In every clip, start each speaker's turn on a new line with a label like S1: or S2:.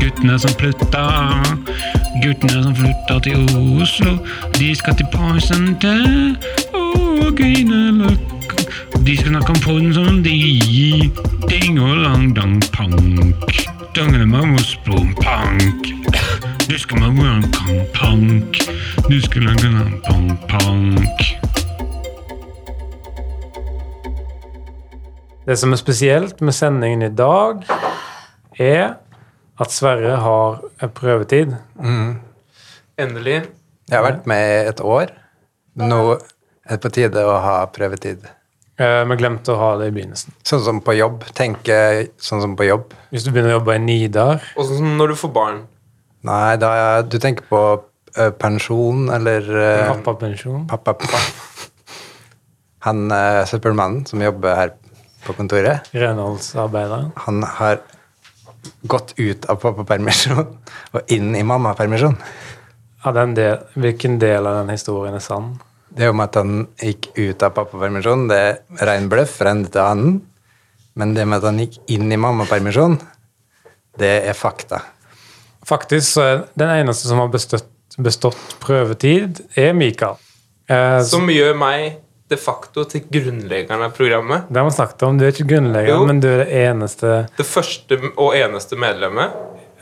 S1: Guttene som flytta, guttene som flytta til Oslo, de skal til Poisonte og Grünerløkka. De skal snakke om porn som de Ding og lang dang pank. Dangelemamos blom pank. Du skal man hvordan kan pank. Du skal lage en pank pank.
S2: Det som er spesielt med sendingen i dag, er at Sverre har en prøvetid.
S3: Endelig.
S4: Jeg har vært med i et år. Nå er det på tide å ha prøvetid.
S2: Eh, Vi glemte å ha det i begynnelsen.
S4: Sånn som på jobb. Tenke sånn som på jobb.
S2: Hvis du begynner å jobbe i Nidar
S3: Og sånn som når du får barn.
S4: Nei, da er, du tenker på eh, pensjon eller eh,
S2: Pappapensjon.
S4: pappa, pappa. Han eh, søppelmannen som jobber her på kontoret,
S2: Renholdsarbeideren.
S4: han har gått ut av pappapermisjon og inn i mammapermisjon.
S2: Ja, den del, hvilken del av den historien er sann?
S4: Det om at han gikk ut av pappapermisjon, det er ren bløff fra ende til annen. Men det med at han gikk inn i mammapermisjon, det er fakta.
S2: Faktisk så er den eneste som har bestått, bestått prøvetid, er Mikael. Eh, som
S3: Som gjør meg de facto til grunnleggeren av programmet.
S2: det har vi snakket om. Du er ikke grunnlegger,
S3: Jo.
S2: men du er det eneste
S3: Det første og eneste medlemmet.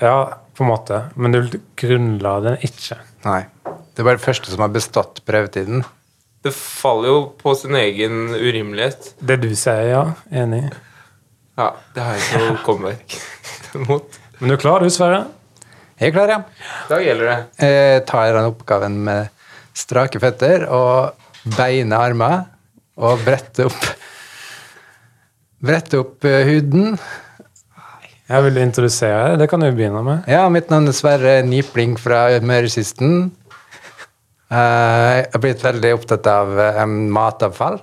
S2: Ja, på en måte. Men du grunnla den ikke.
S4: Nei. Det var det første som har bestått prøvetiden.
S3: Det faller jo på sin egen urimelighet.
S2: Det du sier, ja. Enig.
S3: Ja, det har jeg ikke noe comeback mot.
S2: Men du er klar, du, Sverre?
S4: Jeg er klar, ja.
S3: Da gjelder det.
S4: Jeg tar den oppgaven med strake føtter og beine armer og brette opp Brette opp eh, huden.
S2: Jeg vil introdusere deg. Det kan du begynne med.
S4: Ja, mitt navn er Sverre Nipling fra Møresisten. Eh, jeg har blitt veldig opptatt av eh, matavfall.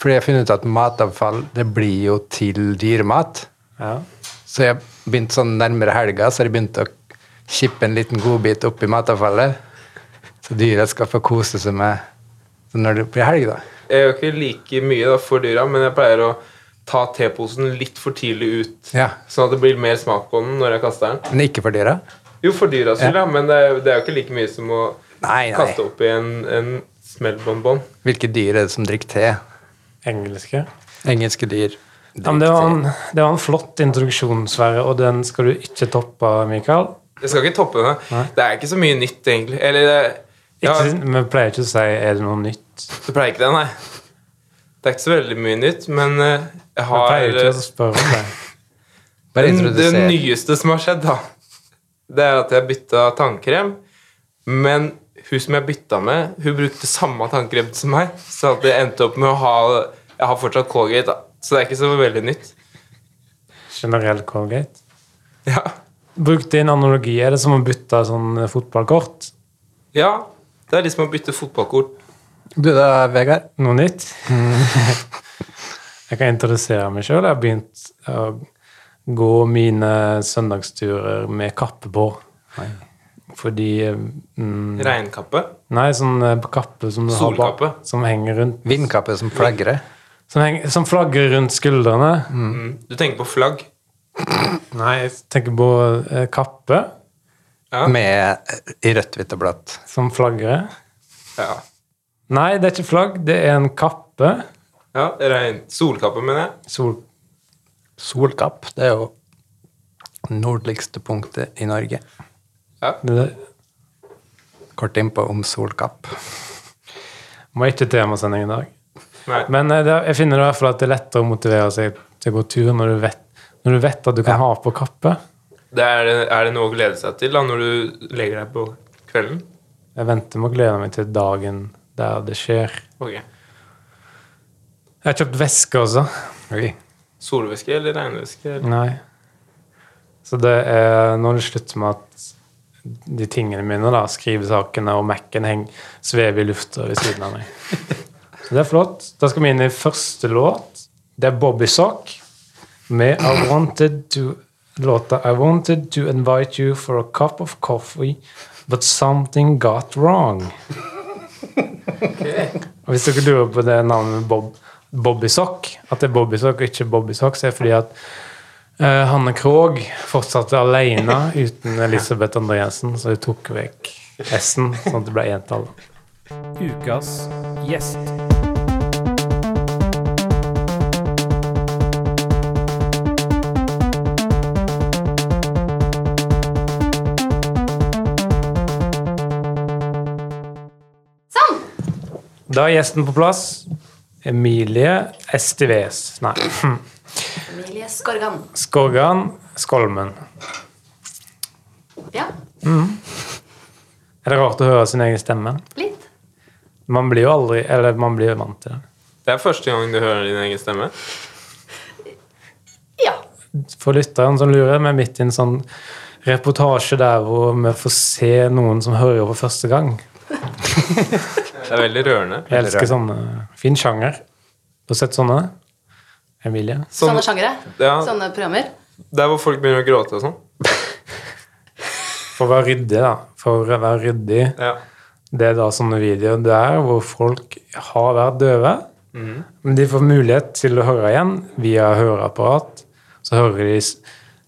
S4: Fordi jeg har funnet ut at matavfall det blir jo til dyremat.
S2: Ja.
S4: Så jeg begynte sånn nærmere helga, så har jeg begynt å kippe en liten godbit oppi matavfallet. Så dyra skal få kose seg med så når det blir helg, da.
S3: Jeg gjør ikke like mye da for dyra, men jeg pleier å ta teposen litt for tidlig ut.
S4: Ja.
S3: Sånn at det blir mer smak på den når jeg kaster den.
S4: Men ikke for dyra.
S3: Jo, for dyra skyld, ja. Men det er, det er jo ikke like mye som å
S4: Nei, nei.
S3: kaste oppi en, en smellbonbon.
S4: Hvilke dyr er det som drikker te?
S2: Engelske.
S4: Engelske dyr.
S2: Ja, men det, var en, det var en flott introduksjon, Sverre, og den skal du ikke toppe, Mikael.
S3: Jeg skal ikke toppe det. Det er ikke så mye nytt, egentlig. Eller det- ja,
S2: Ikke, Vi pleier ikke å si 'er det noe nytt'?
S3: Du pleier ikke det, nei. Det er ikke så veldig mye nytt, men eh, jeg
S2: Vi
S3: har eh,
S2: pleier ikke å spørre om det.
S4: Bare
S3: Den- Det
S4: introduser.
S3: nyeste som har skjedd, da, det er at jeg bytta tannkrem. Men hun som jeg bytta med, hun brukte samme tannkrem som meg. Så at jeg endte opp med å ha Jeg har fortsatt Colgate, da. Så det er ikke så veldig nytt.
S2: Generell Colgate.
S3: Ja.
S2: Bruk din analogi. Er det som å bytte sånn fotballkort?
S3: ja det er liksom å bytte fotballkort.
S4: Du da, Vegard?
S2: Noe nytt? jeg kan introdusere meg sjøl. Jeg har begynt å gå mine søndagsturer med kappe på. Fordi mm,
S3: Regnkappe.
S2: Nei, sånn eh, kappe som du har bak,
S3: Solkappe.
S2: som henger rundt
S4: Vindkappe som flagrer.
S2: Som, henger, som flagrer rundt skuldrene.
S3: Mm. Du tenker på flagg.
S2: Mm. Nei, jeg tenker på eh, kappe
S3: Ja.
S4: Med, I rødt, hvitt og blått.
S2: som flagrer.
S3: Ja.
S2: Nei, det er ikke flagg, det er en kappe.
S3: ja regn. Solkappe, mener jeg.
S2: Sol...
S4: Solkapp, det er jo nordligste punktet i Norge.
S2: Det
S4: Kort innpå om Solkapp.
S2: var ikke temasending i dag.
S3: Nei.
S2: Men eh, det, jeg finner i hvert fall at det er lettere å motivere seg til å gå tur når du vet, når du vet at du kan ha på kappe.
S3: Det er, er det noe å glede seg til da, når du legger deg på kvelden?
S2: Jeg venter med å glede meg til dagen der det skjer.
S3: Ok.
S2: Jeg har kjøpt væske også.
S4: Oi.
S3: Solvæske eller regnvæske? eller-
S2: Nei. Så det er nå er det slutt med at de tingene mine, da, skrivesakene og Mac-en, heng- svever i lufta ved siden av meg. Så det er flott. Da skal vi inn i første låt. Det er Bobby Sock med I wanted to låta I wanted to invite you for a cup of coffee, but something got wrong. Og hvis dere lurer på det navnet Bob, Bobby Sock, at det er Bobby Sock og ikke Bobby Sock, så er det fordi at Eh, Hanne Krogh fortsatte alene uten Elisabeth Andreassen, så hun tok vekk S-en, sånn at det ble entall.
S5: Ukas gjest.
S6: Sånn!
S2: Da er gjesten på plass. Emilie STVs Nei. hm,
S6: Emilie Skorgan.
S2: Skorgan Skolmen.
S6: Ja,
S2: Er det rart å høre sin egen stemme?
S6: litt.
S2: Man blir jo aldri Eller man blir jo vant til det.
S3: Det er første gang du hører din egen stemme.
S6: Ja.
S2: For lytteren som lurer, vi er midt i en sånn reportasje der hvor vi får se noen som hører for første gang.
S3: Det er veldig rørende.
S2: Jeg elsker sånne. Fin sjanger. Du har sett sånne? Emilie?
S3: Sånn-
S6: Sånne sjangere.
S3: Ja,
S6: Sånne programmer.
S3: der hvor folk begynner å gråte og sånn.
S2: For å være ryddig, da. For å være ryddig.
S3: Ja.
S2: Det er da sånne videoer der hvor folk har vært døve, men de får mulighet til å høre igjen via høreapparat. Så hører de s-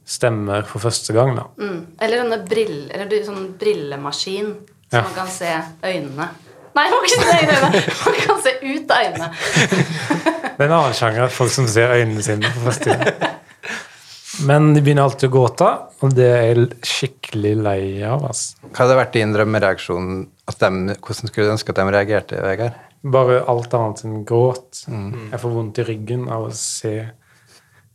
S2: stemmer for første gang, da.
S6: Mm. Eller sånne brill, eller du, sånn brillemaskin, så
S2: Ja.
S6: man kan se øynene. Nei, man kan ikke se inn i øynene. Man kan se ut av øynene.
S2: Det er en annen sjanger, folk som ser øynene sine for første gang. Men de begynner alltid å gråte, og det er jeg l- skikkelig lei av. ass.
S4: Hva hadde vært din drømmereaksjon? At dem- hvordan skulle du ønske at de reagerte, Vegard?
S2: Bare alt annet enn gråt. Jeg får vondt i ryggen av å se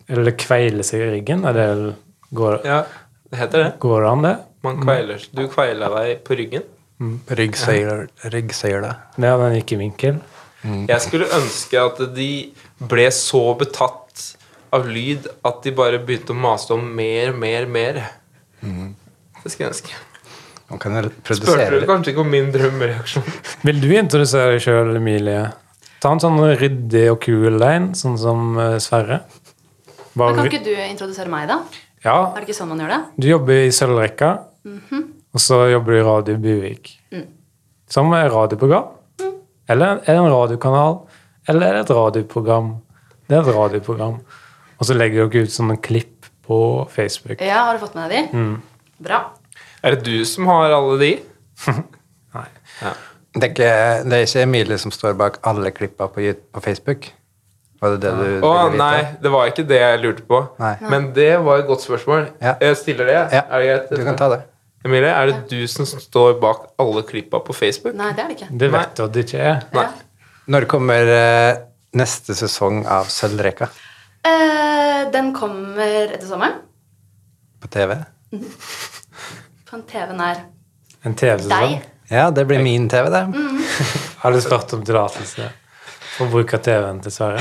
S2: Eller kveile seg i ryggen. Er det, går,
S3: ja, det heter det.
S2: går det an, det?
S3: Man kveiler, du kveiler deg på ryggen.
S4: Ryggsøyler. Ryggsøyler.
S2: Ja, den gikk i vinkel.
S3: Jeg skulle ønske at de ble så betatt av lyd at de bare begynte å mase om mer, mer, mer. Det skulle jeg ønske.
S4: Man kan jo
S3: Spurte
S4: produsere
S3: du
S4: litt.
S3: kanskje ikke om min drømmereaksjon?
S2: Vil du introdusere deg sjøl, Emilie? Ta en sånn ryddig og kul en, sånn som eh, Sverre.
S6: Men
S2: Bare,
S6: kan ikke du introdusere meg, da?
S2: ja,
S6: Er det ikke sånn man gjør det?
S2: du jobber i Sølvrekka, og så jobber du i Radio Buvik. Som er radioprogram. Eller er det en radiokanal? Eller er det et radioprogram? Det er et radioprogram. Og så legger dere ut sånne klipp på Facebook.
S6: Ja, har du fått med deg de? Bra.
S3: Er det du som har alle de?
S4: Det er, ikke, det er ikke Emilie som står bak alle klippa på, Yout- på Facebook? Var det det du
S3: Å
S4: ville vite?
S3: nei, det var ikke det jeg lurte på.
S4: Nei.
S3: Men det var et godt spørsmål.
S4: Ja.
S3: Jeg stiller det.
S4: Ja,
S3: Er det greit?
S4: du kan ta det.
S3: Emilie, er det du som står bak alle klippa på Facebook?
S6: Nei, det er det ikke.
S2: Det vet du at det ikke er.
S3: Nei.
S4: Når kommer eh, neste sesong av Sølvreka
S6: Eh, den kommer etter sommeren.
S4: på TV?
S6: På en TV nær
S2: En TV-sesong.
S6: deg.
S4: Ja, det blir min TV, det.
S3: Mm.
S2: Har du spurt om tillatelse for å bruke TV-en til Sverre?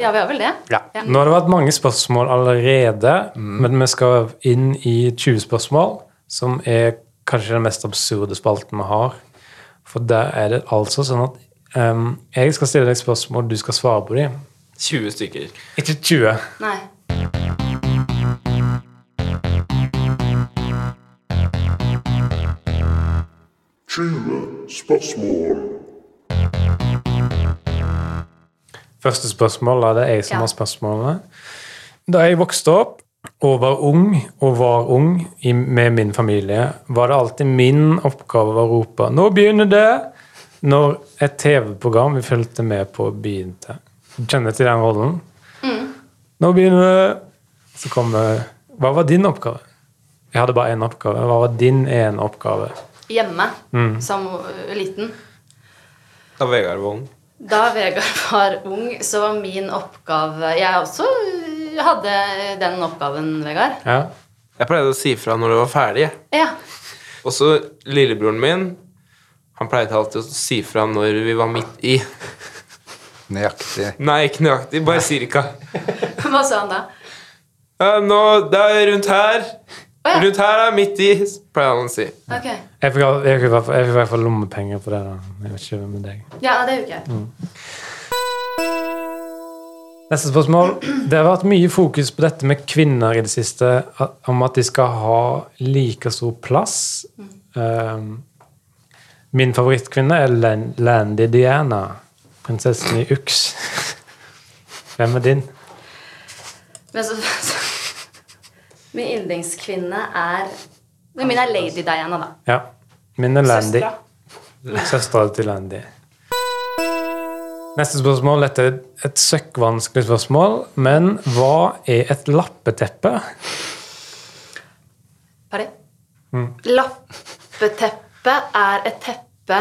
S6: Ja, vi har vel det?
S4: Ja.
S2: Nå har det vært mange spørsmål allerede, men vi skal inn i 20 spørsmål, som er kanskje den mest absurde spalten vi har. For der er det altså sånn at em, jeg skal stille deg spørsmål, du skal svare på dem.
S3: 20 stykker.
S2: Ikke 20.
S6: Nei.
S7: Tjue spørsmål.
S2: Første spørsmål, da det er jeg som
S6: Ja.
S2: har spørsmålene. Da jeg vokste opp og var ung, og var ung i, med min familie, var det alltid min oppgave å rope 'Nå begynner det!' når et TV-program vi fulgte med på, begynte. Du kjenner til den rollen? 'Nå begynner det!' Så kommer Hva var din oppgave? Jeg hadde bare én oppgave. Hva var din ene oppgave?
S6: Hjemme som ø, liten.
S3: Av Vegard Volden.
S6: Da Vegard var ung, så var min oppgave Jeg også ø, hadde den oppgaven, Vegard.
S2: Ja.
S3: Jeg pleide å si fra når det var ferdig. jeg.
S6: Ja.
S3: Og så lillebroren min Han pleide alltid å si fra når vi var midt i.
S4: Nøyaktig.
S3: Nei, ikke nøyaktig. Bare cirka.
S6: Hva sa han da?
S3: Ja, nå, det er rundt her.
S6: Å ja.
S3: Rundt her er midt i, pleier han å si.
S6: Ok.
S2: Jeg fikk al- jeg fikk i hvert fall- jeg fikk i hvert fall lommepenger på det. da. Jeg vet ikke med deg.
S6: Ja, det gjorde ikke jeg.
S2: Neste spørsmål. Det har vært mye fokus på dette med kvinner i det siste. at- Om at de skal ha like stor plass. Um, min favorittkvinne er Lan- Landy Diana. Prinsessen i Ux. Hvem er din?
S6: Men så, så Min yndlingskvinne er Men min er Lady Diana, da.
S2: Ja. Min er Landy.
S8: Søstera.
S2: Søstera til Landy. Neste spørsmål. Dette er et søkkvanskelig spørsmål, men hva er et lappeteppe?
S6: Pari. Mm. Lappeteppe er et teppe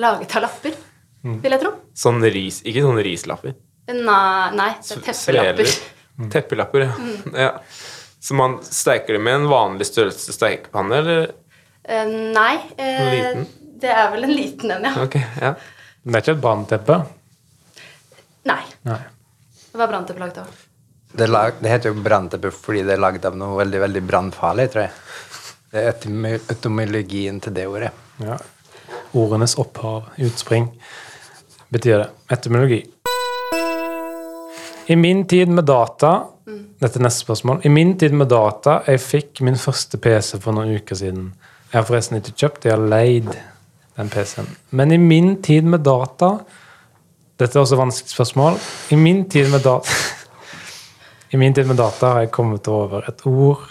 S6: laget av lapper, vil jeg tro.
S3: Sånn ris, ikke sånne rislapper.
S6: Nei, nei det er Mm. teppelapper.
S3: Sveler. Teppelapper, ja. ja. Så man steiker det med en vanlig størrelse steikepanne, eller?
S6: Eh, Nei, eh,
S3: Liten?
S6: det er vel en liten en, ja.
S3: Ok, ja.
S2: Det er ikke et brannteppe.
S6: Nei.
S2: Nei.
S6: Det var brant det plagg da.
S4: Det, er lag, det heter jo brannteppe fordi det er lagd av noe veldig veldig brannfarlig, tror jeg. Det er etymy- etymologien til det ordet.
S2: Ja. Ordenes opphav, utspring, betyr det. Etymologi. I min tid med data Dette er neste spørsmål. I min tid med data jeg fikk min første PC for noen uker siden. Jeg har forresten ikke kjøpt, jeg har leid den PC-en. Men i min tid med data Dette er også et vanskelig spørsmål. I min tid med data I min tid med data har jeg kommet over et ord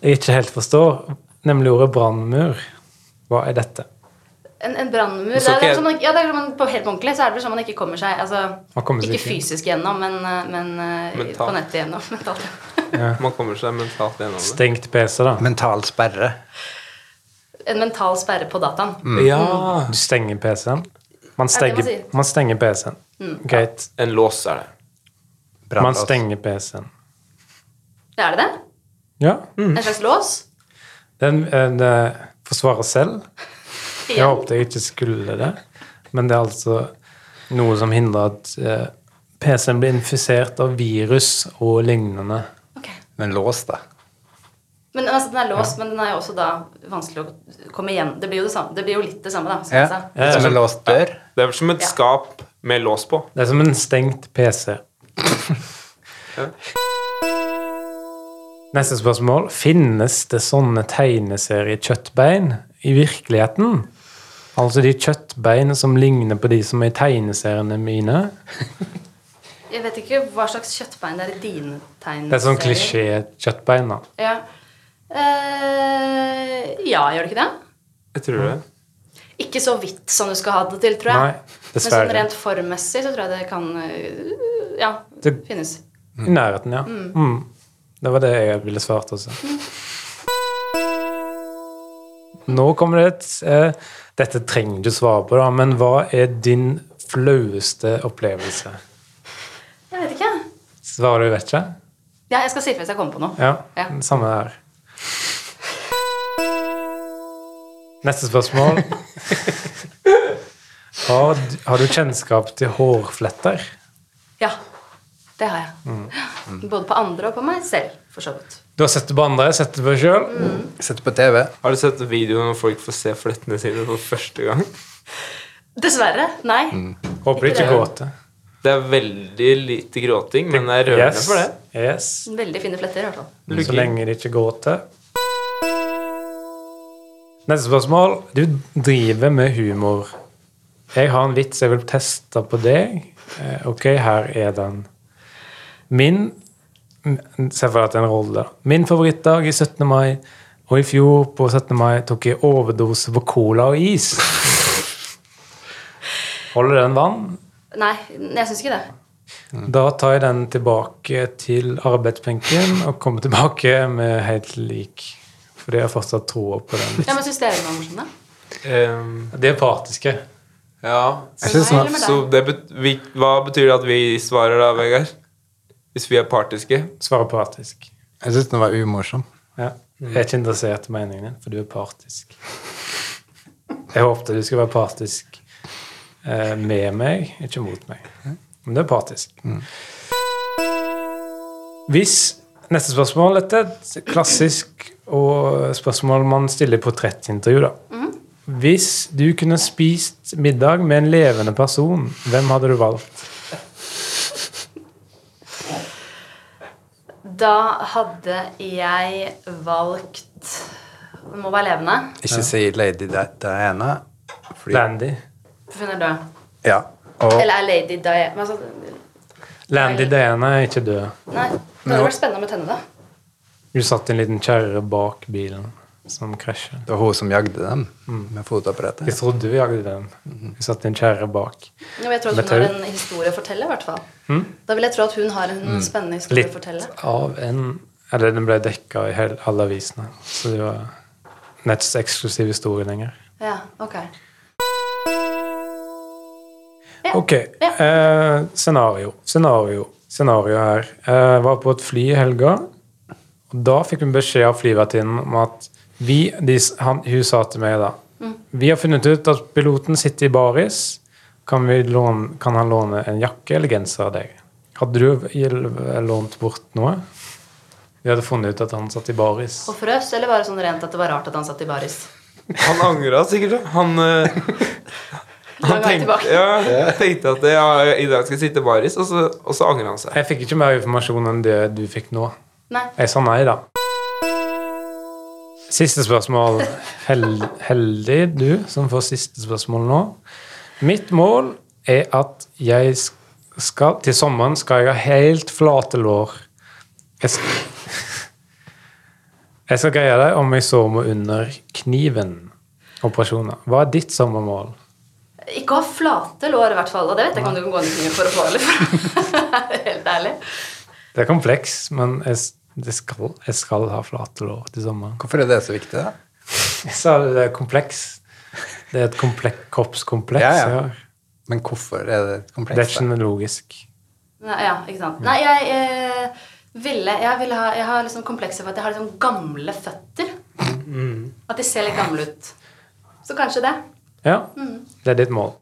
S2: jeg ikke helt forstår, nemlig ordet brannmur. Hva er dette?
S6: En, en brannmur det
S3: Så
S6: er, det
S3: ikke-
S6: er sånn, man- ja, det er sånn man, på, Helt på ordentlig så er det vel sånn man ikke kommer seg altså,
S2: Man kommer seg
S6: Ikke
S2: ikke inn.
S6: fysisk gjennom, men, eh, men eh,
S3: Mentalt.
S6: på nettet gjennom. Mentalt.
S3: Man kommer seg mentalt gjennom det.
S2: Stengt PC, da.
S4: Mental sperre.
S6: En mental sperre på dataen.
S2: Mm.
S3: Ja!
S2: Du stenger PC-en. Man
S6: Ja, det må
S2: stenger,
S6: jeg si. Mm.
S2: man stenger PC-en. Greit.
S3: En lås er det.
S2: Man
S4: Brannlås.
S2: stenger PC-en.
S6: Er det det?
S2: Ja.
S6: En slags lås?
S2: Den, eh, det forsvarer selv. Jeg
S6: Igjen.
S2: håpet jeg ikke skulle det, men det er altså noe som hindrer at eh, PC-en blir infisert av virus og lignende.
S6: Ok.
S4: Men lås, da.
S6: Men altså, Den er låst, men den er jo også da vanskelig å komme igjen. Det blir jo, det samme. Det blir jo litt det samme, da. Som
S4: Ja.
S6: jeg sa.
S2: Ja,
S4: Som
S2: men-
S4: en låst dør.
S3: Det er som et
S6: Ja.
S3: skap med lås på.
S2: Det er som en stengt PC. Neste spørsmål. Finnes det sånne tegneseriekjøttbein i virkeligheten? Altså de kjøttbein som ligner på de som er i tegneseriene mine?
S6: Jeg vet ikke hva slags kjøttbein det er i dine tegneserier.
S2: Det er sånn klisjé-kjøttbein, da.
S6: Ja. Eh, ja, gjør det ikke det?
S3: Jeg tror det.
S6: Ikke så vidt som du skal ha det til, tror jeg.
S2: Nei,
S6: Men sånn
S2: dessverre.
S6: rent formmessig så tror jeg det kan øh, Ja,
S2: Det-
S6: finnes.
S2: I nærheten, ja. Mm. Det var det jeg ville svart også. Nå kommer det et eh, Dette trenger du svare på, da, men hva er din flaueste opplevelse?
S6: Jeg vet ikke.
S2: Svarer du vet ikke?
S6: Ja, jeg skal si ifra hvis jeg kommer på noe.
S2: Ja,
S6: Ja.
S2: det samme her. Neste spørsmål. Har, d- har du kjennskap til hårfletter?
S6: Ja, det har jeg.
S2: Mm.
S6: Både på andre og på meg selv, for så vidt.
S2: Du har sett det på andre, sett det på deg sjøl.
S4: Sitter på TV.
S3: Har du sett videoen når folk får se flettene sine for første gang?
S6: Dessverre. Nei.
S2: Mm. Håper du ikke
S6: Ikke det.
S2: gråter.
S3: Det er veldig lite gråting, men det er rørende
S2: Yes.
S3: for det.
S2: yes.
S6: Veldig fine fletter, i hvert fall.
S2: Så lenge det ikke gråter. Neste spørsmål. Du driver med humor. Jeg har en vits jeg vil teste på deg. Eh, Ok, her er den. Min Se for deg at det er en rolle. Min favorittdag i 17. mai, og i fjor på 17. mai tok jeg overdose på cola og is. Holder den vann?
S6: Nei, jeg syns ikke det.
S2: Da tar jeg den tilbake til arbeidsbenken og kommer tilbake med helt lik. Fordi jeg har fortsatt troa på den.
S6: Ja, men Syns dere det var morsomt, da?
S3: Ehm,
S2: Det er partiske.
S3: ja.
S4: Jeg synes
S6: Nei, eller med
S3: Så det bet vi, hva betyr det at vi svarer da, Vegard? Hvis vi er partiske?
S2: Svarer partisk.
S4: Jeg syns den var umorsom.
S2: Ja. Jeg er ikke interessert i meningen din, for du er partisk. Jeg håpte du skulle være partisk eh, med meg, ikke mot meg. Men du er partisk. Hvis Neste spørsmål. Dette er et klassisk og spørsmål man stiller i portrettintervju. da. Hvis du kunne spist middag med en levende person, hvem hadde du valgt?
S6: Da hadde jeg valgt Den må være levende,
S4: Ikke si Lady Di- Diana. Fordi,
S2: Landy.
S6: for hun er død.
S4: Ja. Og
S6: Eller er Lady Di... Hva sa du?
S2: Landy Diana er ikke død.
S6: Nei. Det hadde vært spennende med tenne, da.
S2: Du satt en liten kjerre bak bilen som krasja.
S4: Det var hun som jagde dem
S2: Mm.
S4: med fotoapparatet.
S2: Jeg trodde vi jagde den. Vi satt en kjerre bak.
S6: Ja, men jeg tror at hun
S2: Metau.
S6: har en historie å fortelle, i hvert fall. Da vil jeg tro at hun har en spennende
S2: Hm? Mm.
S6: historie å
S2: Litt
S6: fortelle.
S2: av en Eller den ble dekka i hel- alle avisene, så det var netts eksklusiv historie lenger.
S6: Ja, ok.
S2: Ok.
S6: Ja.
S2: Eh, scenario. Scenario. Scenario her. Eh, var på et fly i helga. Og da fikk vi beskjed av flyvertinnen om at vi de, han, Hun sa til meg da Vi har funnet ut at piloten sitter i baris. Kan, vi låne, kan han låne en jakke eller genser av deg? Hadde du il- lånt bort noe? Vi hadde funnet ut at han satt i baris.
S6: Og frøs, eller var det sånn rent at det var rart at han satt i baris?
S3: Han angra sikkert. da. Han, eh, han
S6: Lang vei
S3: tenkte,
S6: tilbake.
S3: ja, tenkte at ja, i dag skal jeg sitte i baris, og så, og så angrer han seg.
S2: Jeg fikk ikke mer informasjon enn det du fikk nå.
S6: Nei.
S2: Jeg sa nei, da. Siste spørsmål. Hel heldig du som får siste spørsmål nå. Mitt mål er at jeg sk- skal Til sommeren skal jeg ha helt flate lår. Jeg skal, jeg skal greie det om jeg så må under kniven. Operasjoner. Hva er ditt sommermål?
S6: Ikke ha flate lår, i hvert fall. Og det vet jeg ikke om du kan gå ned i kniv for å få, eller? Helt ærlig.
S2: Det er kompleks, men jeg, s- det skal, jeg skal ha flate lår til sommeren.
S4: Hvorfor er det så viktig, da?
S2: Jeg sa det, det er kompleks. Det er et komplek kroppskompleks.
S4: Ja,
S2: Ja,
S4: ja. Men hvorfor er det
S2: Det er
S4: komplekst?
S2: ikke
S4: da?
S2: noe logisk.
S6: Nei, ja, ikke sant. Nei, jeg eh, ville Jeg, ville ha, jeg har liksom komplekser for at jeg har liksom gamle føtter.
S2: Mm.
S6: At de ser litt gamle ut. Så kanskje det.
S2: Ja, det er ditt mål.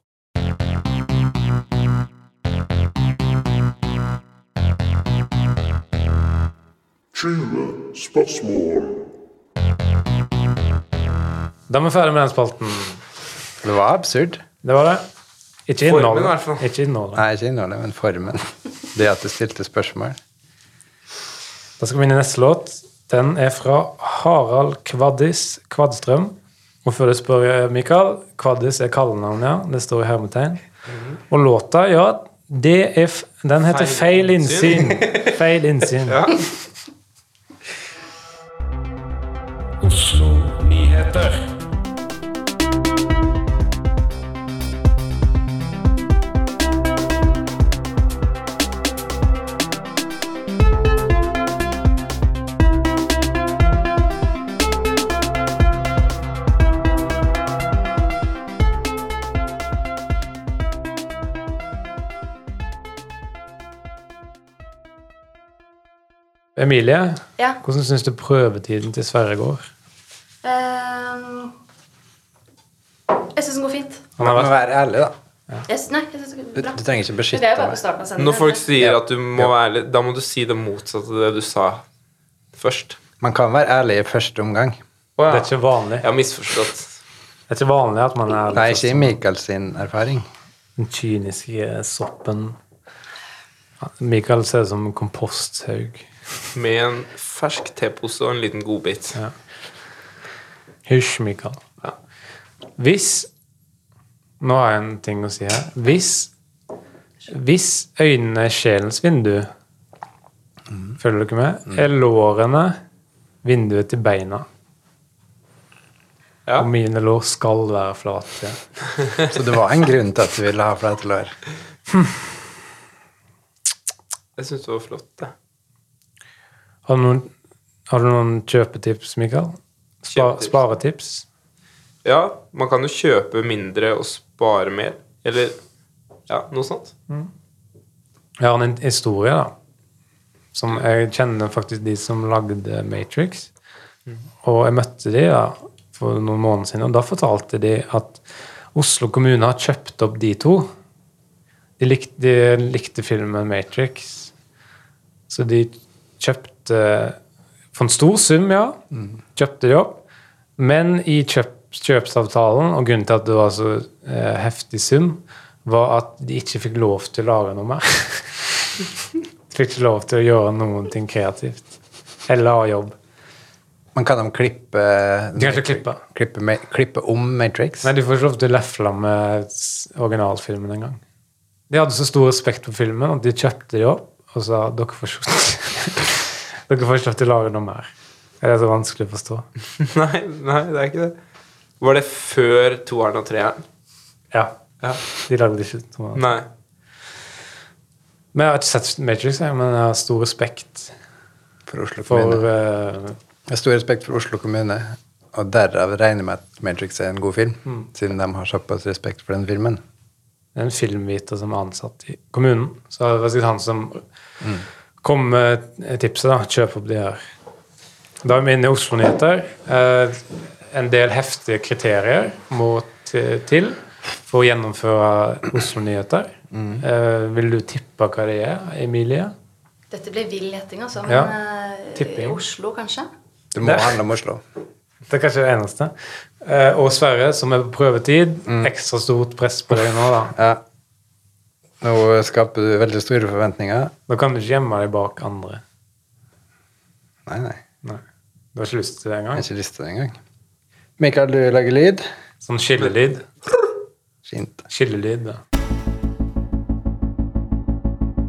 S7: Tjena spörsmål.
S2: Da er vi ferdig med den spalten.
S4: Det var absurd.
S2: Det var det. Ikke
S3: Formen, i hvert
S2: innholdet.
S3: fall.
S2: Ikke innholdet.
S4: Nei, ikke innholdet, men formen. Det at du stilte spørsmål.
S2: Da skal vi inn i neste låt. Den er fra Harald Kvaddis Kvadstrøm. Og før du spør, eh, Mikael, Kvaddis er kallenavnet, ja. Det står i hermetegn. Og låta, ja, det er f den heter
S3: Mhm. Feil
S2: Feil innsyn. Feil innsyn.
S3: Ja.
S1: Oslo Nyheter.
S2: Emilie,
S6: Ja.
S2: hvordan syns du prøvetiden til Sverre går?
S6: Ehm, jeg syns den går fint.
S4: Man må være ærlig, da.
S6: Jeg syns- nei, jeg syns den
S4: Du,
S6: går bra.
S4: du trenger ikke
S6: Men Det
S4: beskytte
S6: er jo bare på
S4: meg.
S6: starten av sendingen.
S3: Når folk sier
S4: Ja.
S3: at du må være ærlig, da må du si det motsatte av det du sa først.
S4: Man kan være ærlig i første omgang.
S2: Det er ikke vanlig.
S3: Jeg har misforstått.
S2: Det er ikke vanlig at man er sånn
S4: Nei, ikke i Michael sin erfaring.
S2: den kyniske soppen. Michael ser ut som en komposthaug.
S3: Med en fersk tepose og en liten godbit.
S2: Hysj, Michael. Hvis Nå har jeg en ting å si her. Hvis, hvis øynene er sjelens vindu Følger du ikke med?
S3: Mm.
S2: Er lårene vinduet til beina?
S3: Ja.
S2: Og mine lår skal være flate.
S4: Så det var en grunn til at du ville ha flate lår.
S3: Jeg syns det var flott, det.
S2: Har du noen, har du noen kjøpetips, Michael? Spa,
S3: Kjøpetips?
S2: sparetips?
S3: Ja, man kan jo kjøpe mindre og spare mer. Eller ja, noe sånt.
S2: Jeg har en historie, da. Som jeg kjenner faktisk de som lagde Matrix. Og jeg møtte de da, for noen måneder siden, og da fortalte de at Oslo kommune har kjøpt opp de to. De likte, de likte filmen Matrix. Så de kjøpte For en stor sum, ja. Kjøpte de opp. Men i kjøp, kjøpsavtalen, og grunnen til at det var så eh, heftig sum, var at de ikke fikk lov til å lage noe mer. de fikk ikke lov til å gjøre noen ting kreativt. Eller ha jobb.
S4: Man kan de klippe
S2: De kan ikke klippe.
S4: Klippe, ma- klippe om Matrix.
S2: Nei, de får ikke lov til å lefle med s- originalfilmen engang. De hadde så stor respekt for filmen at de kjøpte de opp og sa dere får slutte. Dere får ikke lov til å lage noe mer. Det er så vanskelig å forstå.
S3: Nei, nei, det er ikke det. Var det før toeren og treeren?
S2: Ja,
S3: Ja.
S2: de lagde ikke noe mer.
S3: Nei.
S2: Men jeg har ikke sett Matrix, jeg, men jeg har stor respekt
S4: For Oslo kommune.
S2: for eh,
S4: Jeg har stor respekt for Oslo kommune, og derav regner jeg med at Matrix er en god film,
S2: Mm.
S4: siden de har såpass respekt for den filmen.
S2: en filmviter som er ansatt i kommunen. Så det var sikkert han som kom med tipset. da, Kjøp opp de her. Da er vi inne i Oslo-nyheter. Eh, en del heftige kriterier må t- til for å gjennomføre Oslo-nyheter. Eh, vil du tippe hva det er, Emilie?
S6: Dette blir vill gjetting, altså. Men
S2: Ja.
S6: eh,
S2: Tipping.
S6: i Oslo, kanskje?
S4: Det må handle om Oslo.
S2: Det er kanskje det eneste. Eh, og Sverre, som er på prøvetid. Ekstra stort press på deg nå, da.
S4: Ja. Nå skaper du veldig store forventninger.
S2: Da kan du ikke gjemme deg bak andre.
S4: Nei, nei.
S2: Nei. Du har ikke lyst til det
S4: Jeg
S2: engang?
S4: har ikke lyst til det engang. Mikael, du lager lyd.
S2: Sånn skillelyd.
S4: Fint.
S2: Skillelyd, da.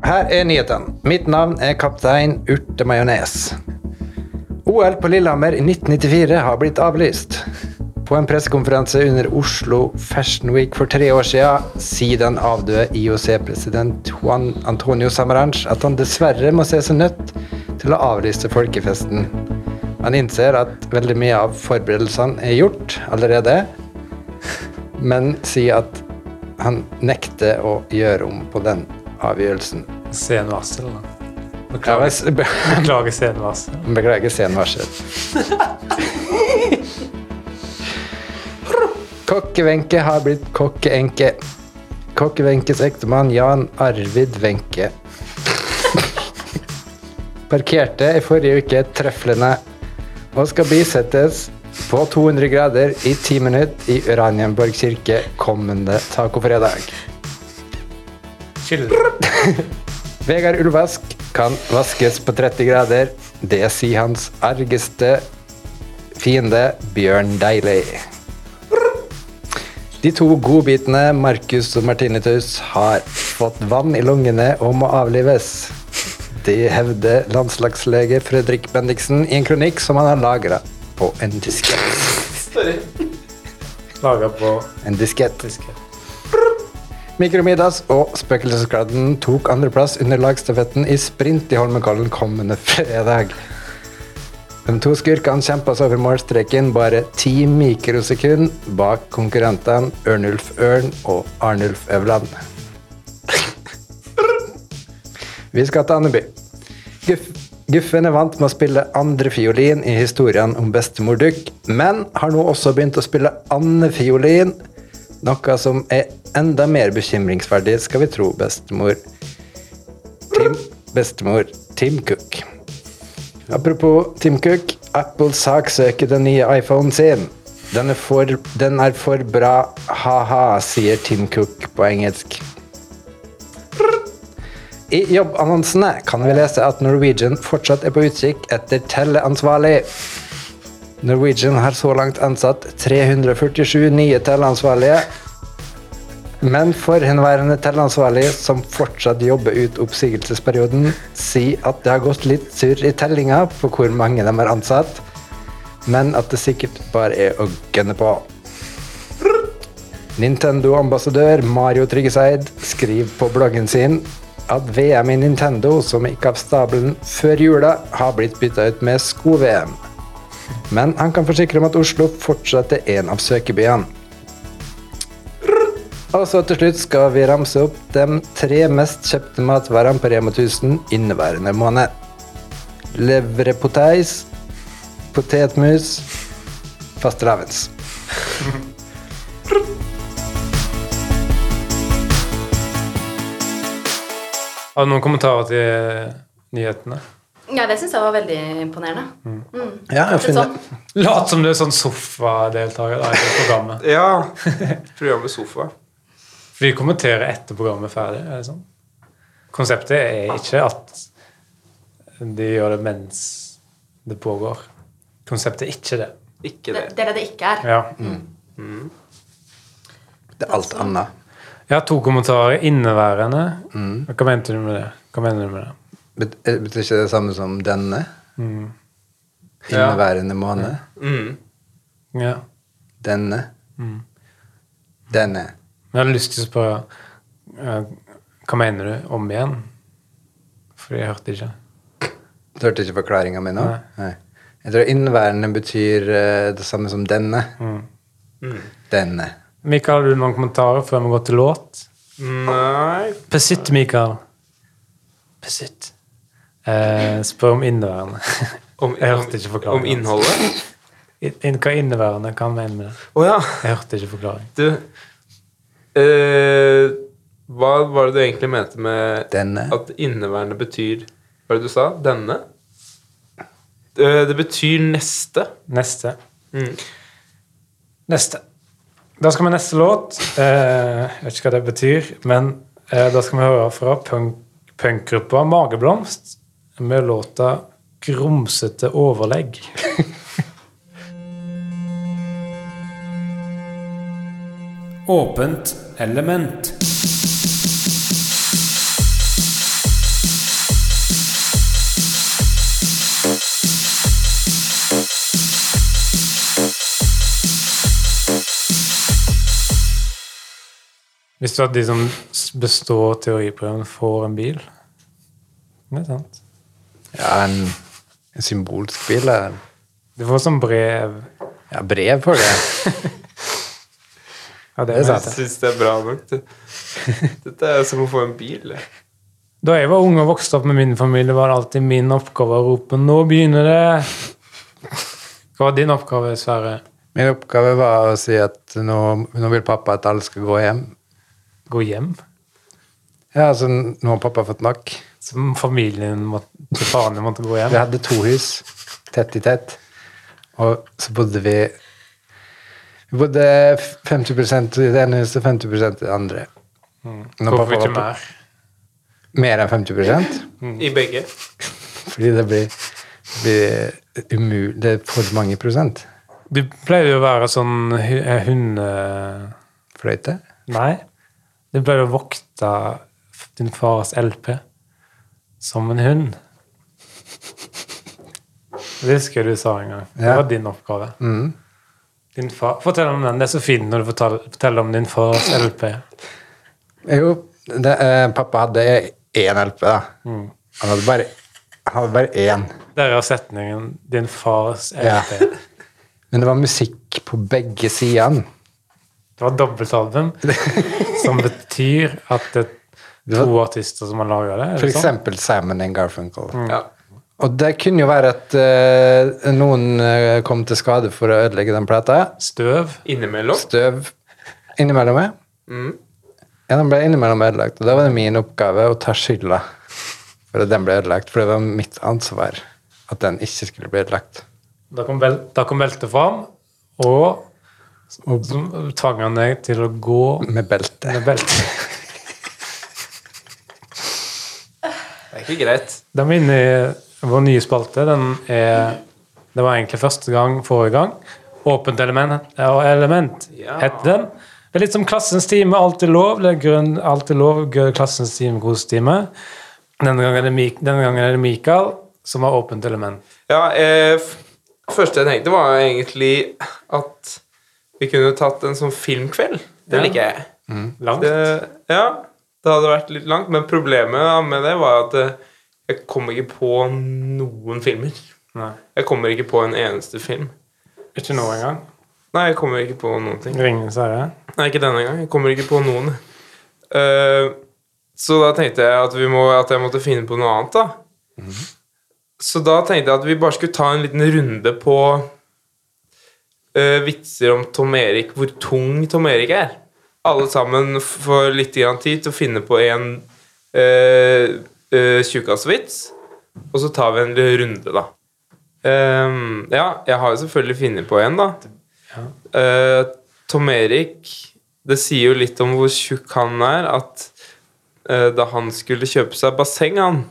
S4: Her er nyhetene. Mitt navn er kaptein Urtemajones. OL på Lillehammer i 1994 har blitt avlyst. På en pressekonferanse under Oslo Fashion Week for tre år siden sier den avdøde IOC-president Juan Antonio Samaranch at han dessverre må se seg nødt til å avlyse folkefesten. Han innser at veldig mye av forberedelsene er gjort allerede, men sier at han nekter å gjøre om på den avgjørelsen.
S2: Senvarsel, da.
S4: Ja, men s- be-
S2: Beklager senvarsel.
S4: Beklager senvarsel. Kokke-Wenche har blitt kokke-enke. Kokke-Wenches ektemann Jan Arvid Wenche parkerte i forrige uke trøflene og skal bisettes på 200 grader i 10 minutter i Uranienborg kirke kommende tacofredag.
S2: Skille.
S4: Vegard Ulvask kan vaskes på 30 grader. Det sier hans argeste fiende Bjørn Deilig. De to godbitene Markus og Martinitus har fått vann i lungene og må avlives. Det hevder landslagslege Fredrik Bendiksen i en kronikk som han har lagra på en diskett.
S2: Laga på
S4: En diskett.
S2: diskett.
S4: Mikromidas og Spøkelseskladden tok andreplass under lagstafetten i sprint i Holmenkollen kommende fredag. De to skurkene kjempa seg over målstreken bare ti mikrosekunder bak konkurrentene Ørnulf Ørn og Arnulf Øvland. Vi skal til Andeby. Guff Guffen er vant med å spille andre fiolin i historien om bestemor Duck, men har nå også begynt å spille andefiolin, noe som er enda mer bekymringsverdig, skal vi tro bestemor Tim, bestemor Tim Cook. Apropos Tim Cook, Apple saksøker den nye iPhonen sin. Den er for, den er for bra, ha-ha, sier Tim Cook på engelsk. I jobbannonsene kan vi lese at Norwegian fortsatt er på utkikk etter telleansvarlig. Norwegian har så langt ansatt 347 nye telleansvarlige, men forhenværende telleansvarlig som fortsatt jobber ut oppsigelsesperioden, sier at det har gått litt surr i tellinga på hvor mange de har ansatt, men at det sikkert bare er å gønne på. Nintendo-ambassadør Mario Tryggeseid skriver på bloggen sin at VM i Nintendo, som gikk av stabelen før jula, har blitt bytta ut med sko-VM. Men han kan forsikre om at Oslo fortsatt er en av søkebyene. Og så til slutt skal vi ramse opp de tre mest kjøpte matvarene på Rema 1000 inneværende måned. Leverpoteis, potetmus, fastelavns.
S2: Har du noen kommentarer til nyhetene?
S6: Ja, det syns jeg var veldig imponerende.
S4: Ja, jeg
S6: Litt
S4: finner,
S6: sånn.
S2: Lat som du er sånn sofadeltaker da, i det programmet.
S3: Ja. Programmet Sofa.
S2: For de kommenterer etter programmet er ferdig. er det sånn? Konseptet er ikke at de gjør det mens det pågår. Konseptet er ikke det.
S3: Ikke
S6: Det,
S3: det.
S6: det er det det ikke er.
S2: Ja.
S4: det er alt annet.
S2: Jeg har to kommentarer. Mm. Inneværende. Hva mente du med det? Hva mener du med det?
S4: Bet- eh, Betyr ikke det samme som denne? Inneværende måned.
S3: Mm.
S2: Ja.
S4: Denne. Denne.
S2: Men jeg hadde lyst til å spørre eh, Hva mener du om igjen? For jeg hørte ikke.
S4: Du hørte ikke forklaringa mi nå?
S2: Nei.
S4: Nei. Jeg tror inneværende betyr eh, det samme som denne. Denne.
S2: Mikael, har du noen kommentarer før vi går til låt?
S3: Nei
S2: Pesitt, Mikael. Pesitt. Eh, spør om inneværende.
S3: om,
S2: Jeg hørte ikke forklaringen.
S3: Om innholdet?
S2: I- inn- Hva er inneværende? Hva mener du med det?
S3: Å ja.
S2: Jeg hørte ikke forklaring.
S3: Du eh, Hva var det du egentlig mente med
S4: Denne.
S3: at inneværende betyr Hva var det du sa? Denne? Eh, Det betyr neste.
S2: Neste.
S3: Mm.
S2: Neste. Da skal vi neste låt. Eh, jeg vet ikke hva det betyr, men eh, da skal vi høre fra punk- punkgruppa Mageblomst med låta 'Grumsete overlegg'.
S5: Åpent element.
S2: Hvis du at de som s- består teoriprøven, får en bil Det er sant.
S4: Ja, en, en symbolsk bil. eller?
S2: Du får sånn brev
S4: Ja, brev for det.
S2: Ja, det
S4: Det er
S2: er
S4: sant.
S2: sant.
S3: Jeg syns det er bra nok. det. Dette er som å få en bil. det.
S2: Da jeg var ung og vokste opp med min familie, var det alltid min oppgave å rope 'Nå begynner det'. Hva var din oppgave, Sverre?
S4: Min oppgave var å si at nå, nå vil pappa at alle skal gå hjem.
S2: Gå hjem?
S4: Ja, altså, nå har pappa fått nok.
S2: Så familien måtte, til faren din måtte gå hjem?
S4: Vi hadde to hus, tett i tett. Og så bodde vi Vi bodde 50 i det ene huset, 50 i det andre. Når
S2: Mm. Hvorfor
S4: pappa
S2: ikke
S4: var
S2: mer?
S4: på- Mer enn 50
S3: I begge.
S4: Fordi det blir, det blir umulig Det er for mange prosent.
S2: Du pleide jo å være sånn hu- eh, hunde...
S4: Fløyte?
S2: Nei. Du pleide å vokte f- din fars LP som en hund. Det husker jeg du sa en gang. Det
S4: Ja. Mm.
S2: var din oppgave. Din far. Fortell om den. Det er så fint når du fortell- forteller om din fars LP.
S4: Jo, det, eh, pappa hadde én LP, da.
S2: Mm.
S4: Han hadde bare han hadde bare én.
S2: Der er setningen 'din fars
S4: Ja.
S2: LP'.
S4: Men det var musikk på begge sidene.
S2: Det var dobbeltalbum, som betyr at det er to artister som har laga det. er
S4: For
S2: det sånn?
S4: eksempel Simon and
S2: Mm.
S4: Garfunkel.
S3: Ja.
S4: Og det kunne jo være at eh, noen eh, kom til skade for å ødelegge den plata.
S2: Støv.
S3: Innimellom.
S4: Støv innimellom meg. Ja, den ble innimellom ødelagt, og da var det min oppgave å ta skylda for at den ble ødelagt, for det var mitt ansvar at den ikke skulle bli ødelagt.
S2: Da kom, bel da kom beltet fram, og så tvang han deg til å gå
S4: Med belte.
S2: med belte.
S3: Det er ikke greit.
S2: Da er vi inne i vår nye spalte. Den er Det var egentlig første gang forrige gang. Åpent element, og element
S3: Ja.
S2: het den. Det er litt som Klassens time, alt er lov. Det er grunn, alt er lov, gøy, Klassens time, kostime. Denne gangen er det, Mik denne gangen er det Mikael som har åpent element.
S3: Ja, eh, f- første jeg tenkte var jo egentlig at vi kunne tatt en sånn filmkveld. Det
S2: Ja.
S3: liker jeg.
S2: Langt.
S3: Det, ja, det hadde vært litt langt, men problemet da med det var at eh, jeg kom ikke på noen filmer.
S2: Nei.
S3: Jeg kommer ikke på en eneste film.
S2: Ikke nå engang.
S3: Nei, jeg kommer ikke på noen ting.
S2: Ringenes herre.
S3: Nei, ikke denne gang. Jeg kommer ikke på noen. Eh, så da tenkte jeg at, vi må, at jeg måtte finne på noe annet, da. Så da tenkte jeg at vi bare skulle ta en liten runde på eh, vitser om Tom Erik, hvor tung Tom Erik er. Alle sammen f- får litt grann tid til å finne på en uh, tjukkasvits, og så tar vi en liten runde, da. Eh, ja, jeg har jo selvfølgelig funnet på en, da. Eh, Tom Erik Det sier jo litt om hvor tjukk han er, at eh, da han skulle kjøpe seg basseng, han,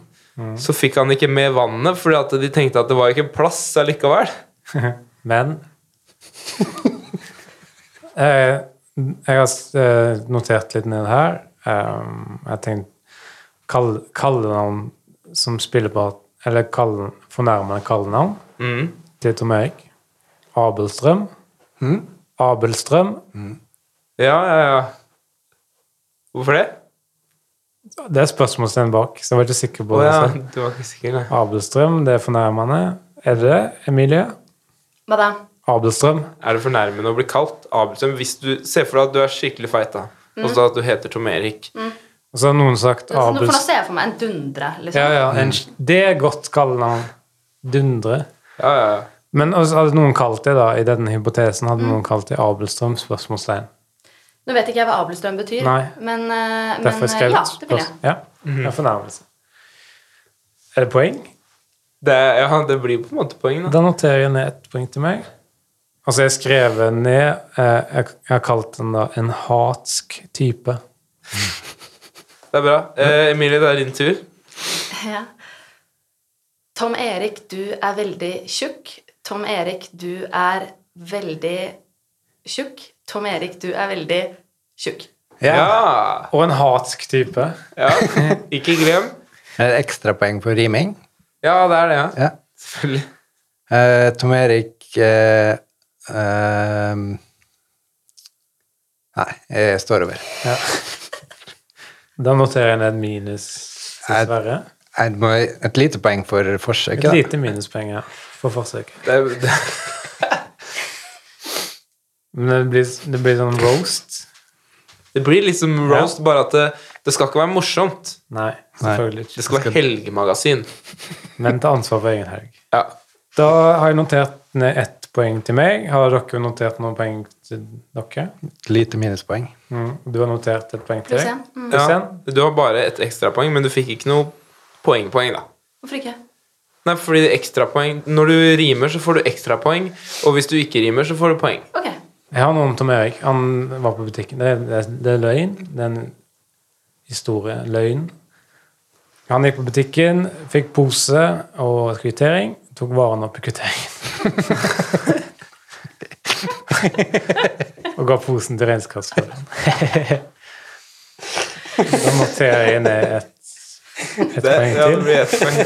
S3: så fikk han ikke med vannet, fordi at de tenkte at det var ikke plass allikevel.
S2: Men eh, Jeg har s- eh, notert litt ned her. Eh, jeg tenkte kall- Kallenavn som spiller på eller kallen- fornærmende kallenavn
S3: Mm.
S2: til Tom Erik. Abelstrøm. Abelstrøm.
S3: Ja, ja, ja. Hvorfor det?
S2: Det er spørsmålstegn bak, så jeg var ikke sikker på
S3: Å
S2: det.
S3: ja,
S2: selv.
S3: du var ikke sikker, nei.
S2: Abelstrøm, det er fornærmende. Er det det, Emilie?
S6: Hva da?
S2: Abelstrøm.
S3: Er det fornærmende å bli kalt Abelstrøm? Hvis du ser for deg at du er skikkelig feit, da, og så at du heter Tom Erik
S2: Og så har noen sagt
S6: Så sånn, nå- For nå
S2: Abelstrøm.
S6: ser jeg for meg en dundre, liksom.
S2: Ja, ja, en, det er godt kallenavn. Dundre.
S3: Ja, ja, ja.
S2: Men også hadde noen kalt det, da, i denne hypotesen,
S6: Mm.
S2: hadde noen kalt det Abelstrøm? Spørsmålstegn.
S6: Nå vet ikke jeg hva abelstrøm betyr,
S2: Nei.
S6: men, eh, men
S2: Derfor
S6: eh,
S2: skrev
S6: ja, det vil jeg.
S2: Ja, det er fornærmelse. Er det poeng?
S3: Det, er- ja, det blir på en måte poeng, da.
S2: Da noterer jeg ned ett poeng til meg. Altså, jeg skrev ned eh, Jeg jeg har kalt den da en hatsk type.
S3: Det er bra. Eh, Emilie, det er din tur.
S6: Ja. Tom Erik, du er veldig tjukk. Tom Erik, du er veldig tjukk. Tom Erik, du er veldig tjukk.
S3: Ja!
S2: Og en hatsk type.
S3: ja. Ikke glem.
S4: Er det ekstrapoeng for riming?
S3: Ja, det er det, ja.
S4: Ja.
S3: Selvfølgelig.
S4: Eh, Tom Erik eh, eh, Nei, jeg står over.
S2: Da noterer jeg ned minus, dessverre.
S4: Jeg må, et lite poeng for
S2: Et
S4: forsøket. da.
S2: lite minuspoeng ja, for forsøket.
S3: Det, er- det,
S2: Men det blir, det blir sånn roast.
S3: det blir liksom roast, bare at det, det skal ikke være morsomt.
S2: Nei, selvfølgelig
S3: Det
S2: ikke.
S3: skal være helgemagasin.
S2: Men ta ansvar for egen helg.
S3: Ja.
S2: Da har jeg notert ned ett poeng til meg. Har dere notert noen poeng til dere?
S4: Et lite minuspoeng.
S2: Mm. Du har notert et poeng til
S6: Lucian?
S2: deg?
S6: Mm.
S3: ja.
S2: Kristian?
S3: Du har bare et ekstrapoeng, men du fikk ikke noe poengpoeng, da.
S6: Hvorfor ikke?
S3: Nei, fordi det er ekstrapoeng Når du rimer, så får du ekstrapoeng, og hvis du ikke rimer, så får du poeng.
S6: Ok.
S2: Jeg har noe om Tom Erik. Han var på butikken. Det, det, det er løgn. Det er en historie. Løgn. Han gikk på butikken, fikk pose og et kvittering. Tok varen opp i kvitteringen. og ga posen til regnskapsføreren. da noterer jeg ned et, et poeng
S3: ja, det
S2: til,
S3: blir ett poeng.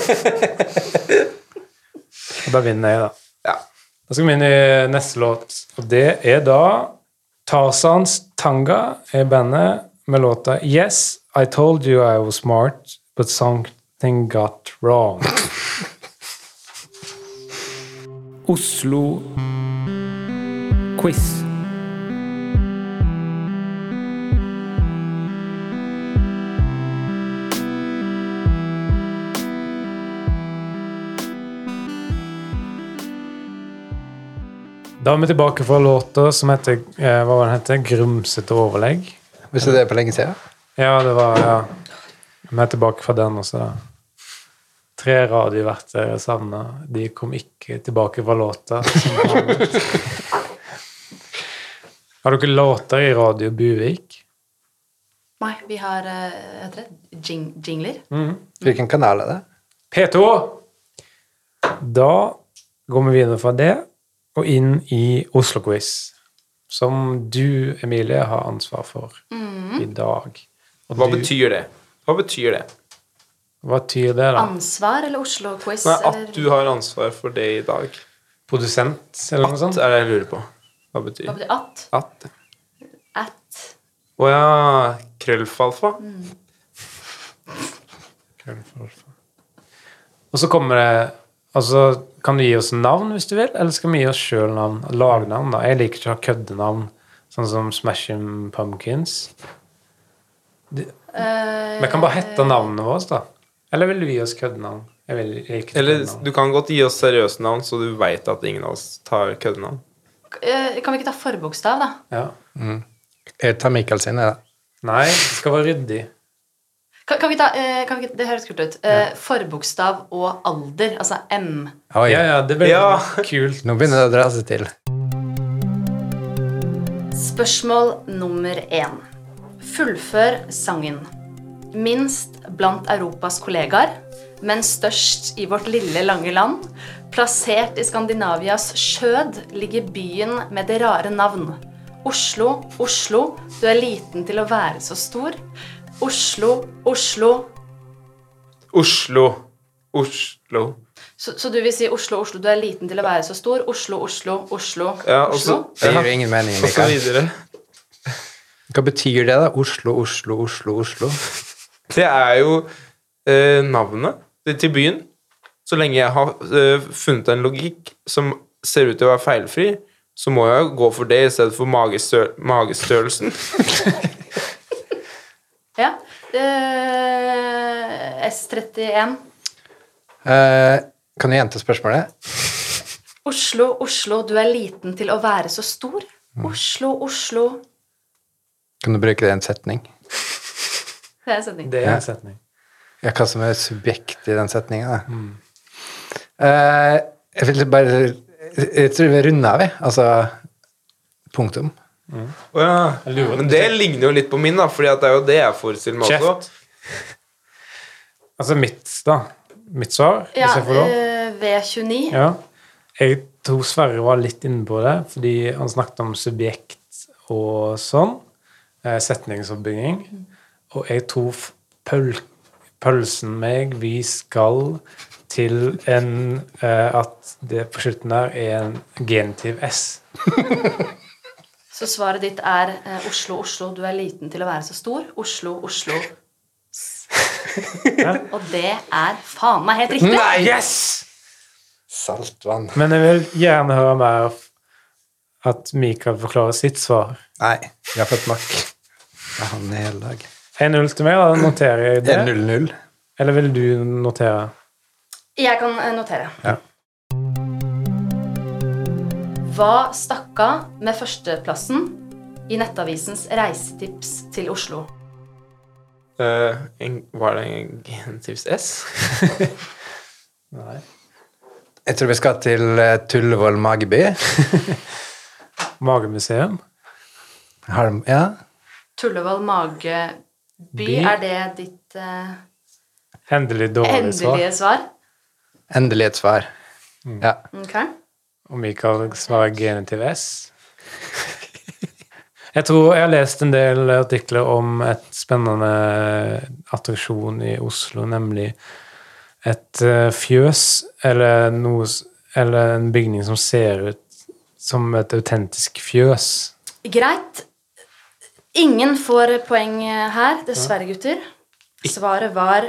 S2: og da vinner jeg, da.
S3: Ja.
S2: Da skal vi inn i neste låt, og det er da Tarzans Tanga er bandet med låta Yes, I told you I was smart, but something got wrong.
S5: Oslo Quiz.
S2: Da er vi tilbake fra låta som heter, eh, hva var den heter? Grumsete overlegg.
S4: Hvis det er på lenge siden?
S2: Ja, det var, ja. Vi er tilbake fra den også, da. Tre radioverter savna. eh, De kom ikke tilbake fra låta. som vanlig. Har dere låter i Radio Buvik?
S6: Nei, vi har eh, hva heter det? Jing jingler.
S4: Hvilken kanal er det?
S2: P2! Da går vi videre fra det og inn i Oslo-quiz, som du, Emilie, har ansvar for i dag. Og
S3: Hva
S2: du-
S3: betyr det? Hva betyr det?
S2: Hva betyr det, da?
S6: Ansvar eller Oslo-quiz?
S3: Nei, at
S6: eller-
S3: du har ansvar for det i dag.
S2: Produsent, eller noe
S3: At
S2: sånt?
S3: er det jeg lurer på. Hva
S6: Hva
S3: betyr
S6: betyr at?
S3: at?
S6: At.
S3: Å ja. Krøllfalfa?
S2: Og så kommer det Altså, kan du gi oss navn hvis du vil, eller skal vi gi oss sjøl navn? Lagnavn, da. Jeg liker ikke å ha køddenavn, sånn som Smashing Pumpkins.
S6: Eh,
S2: Vi kan bare hette navnene våre, da. Eller vil du gi oss køddenavn? Jeg vil jeg liker ikke
S3: Eller
S2: køddenavn.
S3: du kan godt gi oss seriøse navn, så du veit at ingen av oss tar køddenavn.
S6: eh, kan vi ikke ta forbokstav, da?
S2: Ja.
S4: Jeg tar Mikael sin, jeg, da.
S2: Nei, det skal være ryddig.
S6: Kan, kan vi ta, eh, kan vi ikke, det høres kult ut. Eh, Forbokstav og alder, altså M.
S4: Oi,
S2: Ja, ja, det blir
S3: Ja.
S2: kult.
S4: nå begynner det å dra seg til.
S6: Spørsmål nummer én. Fullfør sangen. Minst blant Europas kollegaer, men størst i vårt lille, lange land. Plassert i Skandinavias skjød ligger byen med det rare navn. Oslo, Oslo, du er liten til å være så stor. Oslo, Oslo,
S3: Oslo. Oslo.
S6: Så, så du vil si Oslo, Oslo, du er liten til å være så stor. Oslo, Oslo, Oslo,
S3: Ja, og
S6: Oslo.
S3: så,
S4: Det gir
S3: ja,
S4: jo ingen mening.
S3: og så
S4: Mikael.
S3: videre.
S4: Hva betyr det, da? Oslo, Oslo, Oslo, Oslo.
S3: Det er jo eh, navnet det- til byen. Så lenge jeg har eh, funnet en logikk som ser ut til å være feilfri, så må jeg gå for det i stedet for magestø magestørrelsen.
S6: Ja. Eh, S31.
S4: Eh, kan du gjenta spørsmålet?
S6: Oslo, Oslo, du er liten til å være så stor.
S2: Mm.
S6: Oslo, Oslo.
S4: Kan du bruke det i en setning?
S6: Det er en setning.
S2: Det er en setning.
S4: Ja, hva som er subjekt i den setninga, da.
S3: Mm.
S4: Eh, jeg vil bare Jeg tror vi runder av, vi. Altså punktum.
S3: Å ja.
S2: lurer.
S3: Men det ligner jo litt på min, da, Fordi at det er jo det jeg forestiller meg også.
S2: Altså mitt, da. Mitt svar,
S6: Ja,
S2: hvis jeg får lov.
S6: eh, V29.
S2: Ja. Jeg tror Sverre var litt inne på det, fordi han snakket om subjekt og sånn. eh, Setningsoppbygging. Og jeg tror f- pøl pølsen meg vi skal til en eh, At det på slutten der er en genitiv S.
S6: Så svaret ditt er eh, Oslo, Oslo, du er liten til å være så stor. Oslo, Oslo. Og det er faen meg helt riktig.
S2: Yes!
S4: Saltvann.
S2: Men jeg vil gjerne høre mer f- at Mikael forklarer sitt svar.
S4: Nei, vi har fått nok. Det er han i hele dag.
S2: 1-0 til meg, da noterer jeg
S4: Det
S2: det.
S4: er 0-0.
S2: Eller vil du notere?
S6: Jeg kan eh, notere.
S4: Ja.
S6: Hva stakk av med førsteplassen i Nettavisens reisetips til Oslo?
S3: Eh, en, var det en gentips S?
S4: Jeg tror vi skal til eh, Tullevoll mageby.
S2: Magemuseum?
S4: Har de, ja.
S6: Tullevoll mageby,
S2: By?
S6: er det ditt eh,
S2: Endelig dårlig svar.
S6: endelige svar?
S4: Endelig et svar. Ja.
S6: Ok.
S2: Og Mikael svarer genitiv S. Jeg tror jeg har lest en del artikler om et spennende attraksjon i Oslo, nemlig et eh, fjøs eller, noe, s- eller en bygning som ser ut som et autentisk fjøs.
S6: Greit. Ingen får poeng eh, her, dessverre, gutter. Svaret var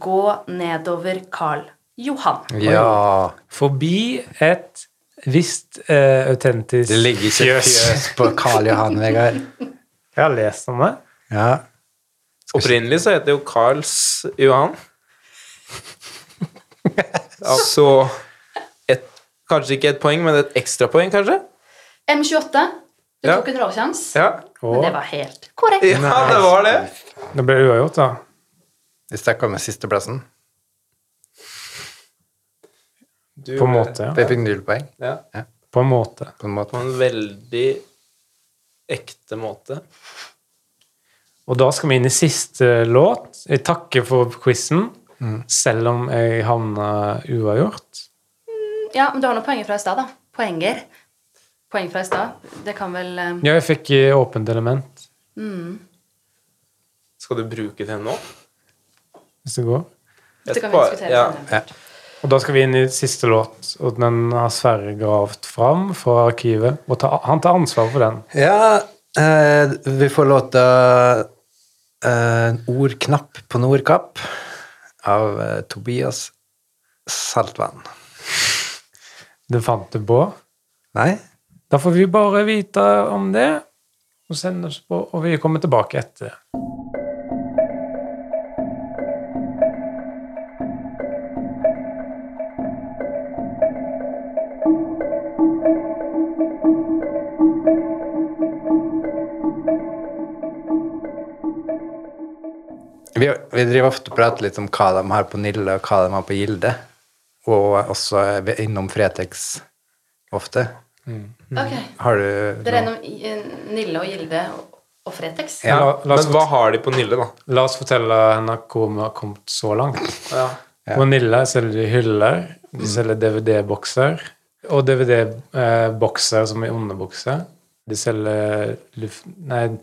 S6: gå nedover Karl Johan.
S4: ja.
S2: Forbi et visst eh, autentisk
S4: Det ligger ikke fjøs, på Karl Johan, Vegard.
S2: Jeg har lest om det.
S4: Ja.
S3: Opprinnelig så heter det jo Karls Johan. Altså et, Kanskje ikke et poeng, men et ekstrapoeng, kanskje?
S6: M28, du
S3: Ja.
S6: tok en råkjans,
S3: Ja.
S6: men det var helt korrekt.
S3: ja, det var det.
S2: Det ble uavgjort, da.
S4: Vi stakk av med sisteplassen.
S3: Du,
S2: På en måte.
S4: Vi
S2: Ja.
S4: fikk null poeng,
S3: Ja,
S2: På en måte.
S4: på en måte.
S3: på en veldig ekte måte.
S2: Og da skal vi inn i siste eh, låt. Jeg takker for quizen, selv om jeg havna uavgjort.
S6: Ja, men du har noen poenger fra i stad, da. Poenger. Poeng fra i stad. Det kan vel eh,
S2: Ja, jeg fikk i åpent element,
S3: Skal du bruke det nå?
S2: hvis det går.
S6: Det kan vi
S3: Etterpå-
S6: diskutere.
S3: Ja.
S6: senere.
S2: Og da skal vi inn i siste låt, og den har Sverre gravd fram fra arkivet. Og ta, han tar ansvar for den.
S4: Ja, eh, vi får låta eh, 'Ordknapp på Nordkapp' av eh, Tobias Saltvann.
S2: Den fant du på.
S4: Nei?
S2: Da får vi bare vite om det, og sende oss på, og vi kommer tilbake etter.
S4: Vi, vi driver ofte og prater litt om hva de har på Nille, og hva de har på Gilde. Og også er vi innom Fretex ofte.
S6: Ok.
S4: Har du
S6: Dere er innom i- eh, Nille og Gilde og- og Fretex.
S4: Ja.
S2: La, la, oss,
S3: Men hva har de på Nille, da?
S2: la oss fortelle henne hvor vi har kommet så langt. På Nilla selger de hyller, de selger DVD-bokser, og DVD-bokser som er underbukser. De selger luft... Nei,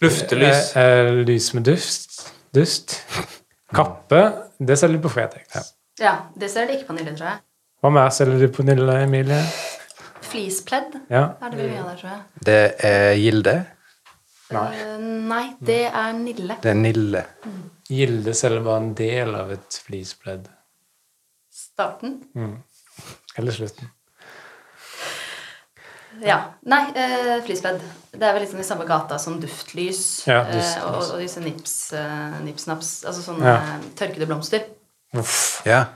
S3: Luftelys.
S2: eh, eh, lys med dust. Dust. Kappe, det selger de på Fretex.
S6: Ja, det ser de ikke på Nille, tror jeg.
S5: Hva mer selger du på Nille, Emilie?
S6: Fleecepledd
S5: Ja.
S6: er det vel mye av der, tror jeg.
S4: Det er Gilde.
S5: Nei.
S6: Eh, Nei, det er Nille.
S4: Det er Nille.
S5: Gilde selger bare en del av et flispledd.
S6: Starten.
S5: Eller slutten.
S6: Ja. Nei, eh, fleecebed. Det er vel liksom i samme gata som duftlys
S5: Ja,
S6: eh,
S5: duftlys.
S6: og, og disse nips, eh, nipsnaps Altså sånne
S5: Ja.
S6: eh, tørkede blomster.
S5: Uff.
S4: Ja.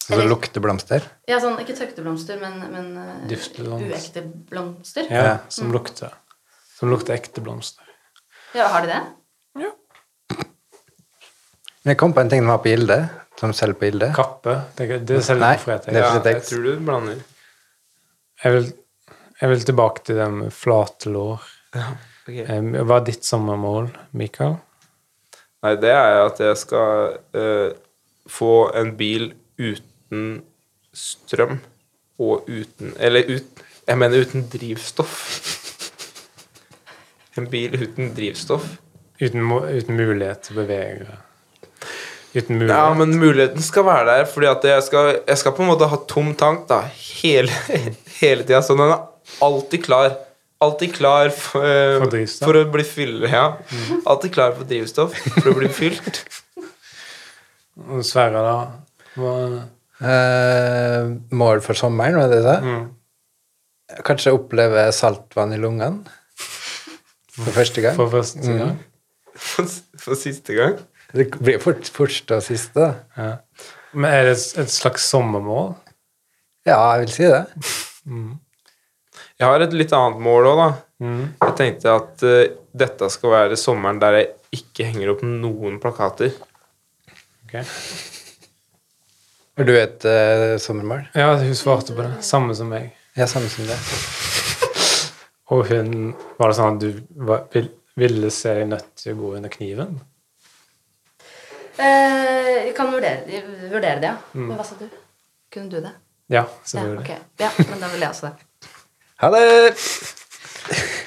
S4: Så det lukter blomster.
S6: Ja, sånn, ikke tørkede blomster, men, men eh,
S5: Duftblomst.
S6: uekte blomster. Ja.
S5: Ja, som
S2: Mm.
S5: lukter. Som lukter ekte blomster.
S6: Har de det?
S4: Men jeg kom på en ting de har på Gilde, som selger på Gilde.
S5: Kappe. Det, det selger
S4: Nei,
S5: du på Fretex.
S4: det er
S3: Ja,
S4: for
S3: jeg
S4: Fretex.
S3: tror du blander.
S5: Jeg vil, jeg vil tilbake til det med flate lår.
S3: Ok.
S5: Eh, Hva er ditt sommermål, Mikael?
S3: Nei, det er at jeg skal eh, få en bil uten strøm og uten Eller ut, jeg mener uten drivstoff. En bil uten drivstoff.
S5: Uten, må- uten mulighet til å bevege deg. Uten
S3: Ja,
S5: mulighet.
S3: men muligheten skal være der, fordi at jeg skal, jeg skal på en måte ha tom tank da, hele, hele tida. Så den er alltid klar. Alltid klar for, eh,
S5: For drivstoff.
S3: for å bli fylt. Ja. Alltid klar for drivstoff for å bli fylt.
S5: Og Sverre, da? Hva,
S4: Eh, mål for sommeren, var det det?
S5: Mm.
S4: Kanskje oppleve saltvann i lungene for første gang.
S5: for første gang?
S3: For, for siste gang.
S4: Det blir fort første og siste, da.
S5: Ja. Men er det et slags sommermål?
S4: Ja, jeg vil si det.
S3: Jeg har et litt annet mål òg, da. Jeg tenkte at eh, dette skal være sommeren der jeg ikke henger opp noen plakater.
S5: Ok.
S4: Har du et eh, sommermål?
S5: Ja, hun svarte på det. Samme som meg.
S4: Ja, samme som det.
S5: Og hun Var det sånn at du var, vil, ville se deg nødt til å gå under kniven?
S6: Eh, vi kan vurdere, vi vurderer det, ja.
S5: Mm.
S6: Men hva sa du? Kunne du det? Ja,
S5: Ja, selvfølgelig.
S6: ok. Ja, men da vil jeg også det.
S4: Ha det!